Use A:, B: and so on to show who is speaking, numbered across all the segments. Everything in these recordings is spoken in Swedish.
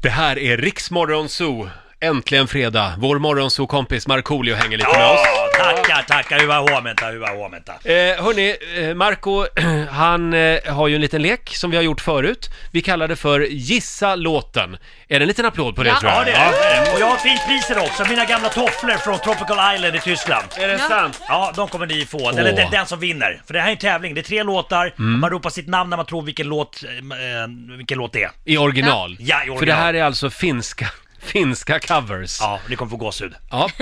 A: Det här är Riksmorgon Zoo. Äntligen fredag. Vår morgonzoo-kompis Markoolio hänger lite med oss.
B: Ja, tackar, tackar. Hyvää huomenta, hyvää huomenta.
A: Eh, hörni, eh, Marco, han eh, har ju en liten lek som vi har gjort förut. Vi kallar det för Gissa låten. Är det en liten applåd på det
C: Ja.
A: tror jag?
B: Ja, det är det. Och jag har fint pris idag också. Mina gamla tofflor från Tropical Island i Tyskland.
A: Är det
C: Ja.
A: sant?
B: Ja, de kommer ni få. Eller
A: Åh. Mm.
B: den, den som vinner. För det här är en tävling. Det är tre låtar. Man ropar sitt namn när man tror vilken låt, eh, vilken låt det är.
A: I original.
B: Ja, i original.
A: För det här är alltså finska, finska covers. Ja.
B: Ja, ni kommer få gåshud.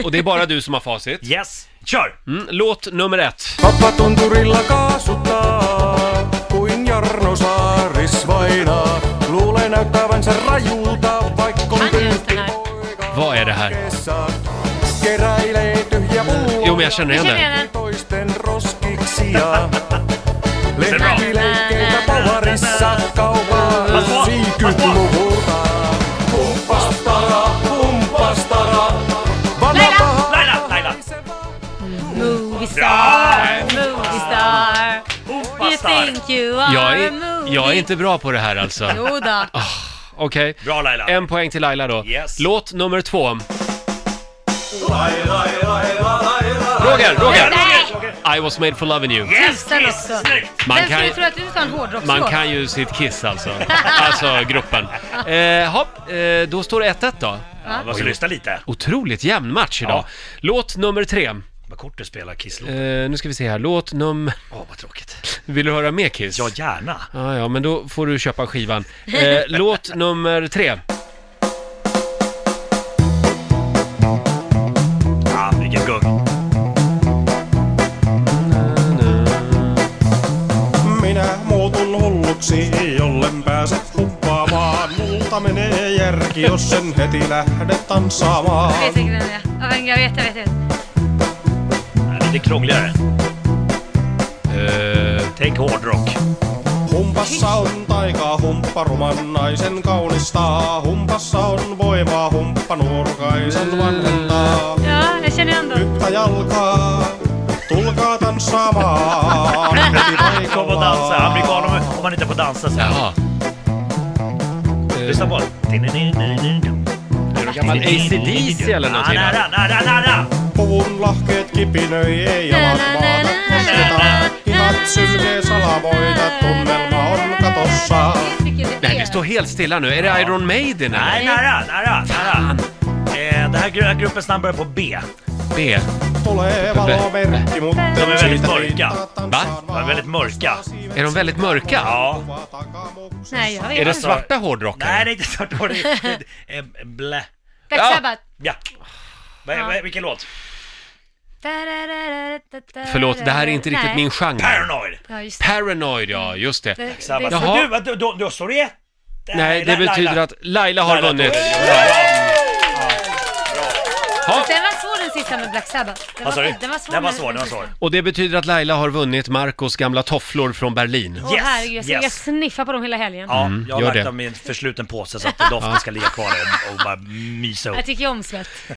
A: och det är bara du som har facit.
B: Yes, kör!
A: Mm, låt nummer ett.
D: Pappa tunturilla kaasuttaa, kuin Jarno Saaris vainaa. Luulee näyttävänsä rajulta, vaikka on
C: Kan ju inte den här.
D: poika
A: Vad är det här?
D: kesään. Keräilee tyhjä pulloja
A: Jo, men jag känner igen
C: Jag känner
A: den.
C: igen
D: toisten roskiksia. Lehtileikkeitä
C: Nä, nä,
D: pavarissa
B: Pas på,
D: kaupalla
B: pas
D: siikyt
B: på.
D: muhurtaa. Pumpastara, pumpastara, vanha
C: Leila,
D: paha
B: Laila, Laila!
C: Moviestar, moviestar. You
B: Opastar!
C: think you are
A: Jag
C: a
A: är,
C: movie.
A: jag är inte bra på det här alltså.
C: Jo då.
A: Okej.
B: Bra Laila!
A: En poäng till Laila då.
B: Yes.
A: Låt nummer två. Roger, Roger!
C: Nej!
A: I was made for loving you.
B: Yes,
C: Tusen
B: yes,
C: också.
B: snyggt!
A: Man
C: Vem
A: kan,
C: skulle tro att du ska ha en
A: man
C: hårdrockslåt?
A: kan ju sitt Kiss alltså. Alltså gruppen. Eh, hopp, eh, då står det 1-1 då.
B: Ja, man ska lyssna lite.
A: Otroligt jämn match idag.
B: Ja.
A: Låt nummer tre. Eh,
B: Vad kort du spelar Kiss låt.
A: nu ska vi se här. Låt nummer...
B: Åh, vad tråkigt.
A: Vill du höra mer Kiss?
B: Ja, gärna.
A: Ja, ja, men då får du köpa skivan. Eh, låt nummer tre.
B: Ja, vilken gung.
D: Minä muutun hulluksi, jollen pääse kuppaamaan. Multa menee järki, jos sen heti lähde tanssaamaan.
C: Jag vet säkert vem det är. Ja, men Jag vet, jag vet, jag vet.
B: Nej, Lite krångligare.
A: Eh,
B: Tänk hårdrock.
D: Humpassa on taikaa, humppa ruman naisen kaunistaa. Humpassa on voimaa, humppa nuorkaisen vanhentaa.
C: Ja, jag känner igen den.
D: Hyppä jalkaa, tulkaa tanssaamaan. Heti
B: Kom och dansa. Amerikaner om- om man inte får dansa sen.
A: jaha.
B: Lyssna på den. Är du
A: gammal AC/DC eller någonting, va?
B: Nära, nära, nära!
D: Puvun lahkeet kipinöi, ei jalat maata kosketa. Hihat sylkee salamoita, tunnelma on katossa.
C: Vilken
A: Nej, det står helt stilla nu. Är det Iron Maiden eller?
B: Nej, nära, nära, nära. Eh, Den här gru- gruppens namn börjar på B.
A: B.
D: Tulee valomerkki, mutta
C: De
B: är väldigt mörka.
A: Va?
B: De är väldigt mörka.
A: Är de väldigt mörka?
B: Ja.
C: Nej, jag vet
A: Är det
C: inte.
A: svarta hårdrockare?
B: Nej, det är inte svart hår. Det är- det är- eh, Blä.
C: Black
A: Ja.
C: Sabbath.
B: Ja. Vad är-
C: Ja.
B: vad är- Vilken låt?
A: Förlåt, det här är inte riktigt
C: Nej.
A: min genre.
B: Paranoid.
C: Ja, just det.
A: Paranoid, ja, just det.
C: Det- det
B: Sabbath.
C: är så-
A: Jaha.
B: Du, vad- då- då- då står det ett.
A: Nej, det
B: Laila-
A: betyder att Laila har
B: Laila tog
A: vunnit.
B: det. Bra.
C: Den var svår den sista med Black Sabbath. Den
B: Vad sa du?
C: fin, Den var svår.
B: Den var svår, den var svår.
A: Och det betyder att Laila har vunnit Marcos gamla tofflor från Berlin.
C: Åh
B: Yes,
C: herregud, jag ska
B: yes.
C: ligga och sniffa på dem hela helgen.
B: Ja, jag har
A: Mm. gör
B: lagt
A: det.
B: dem i en försluten påse så att doften ska ligga kvar i den och bara mysa upp.
C: Jag tycker ju om svett.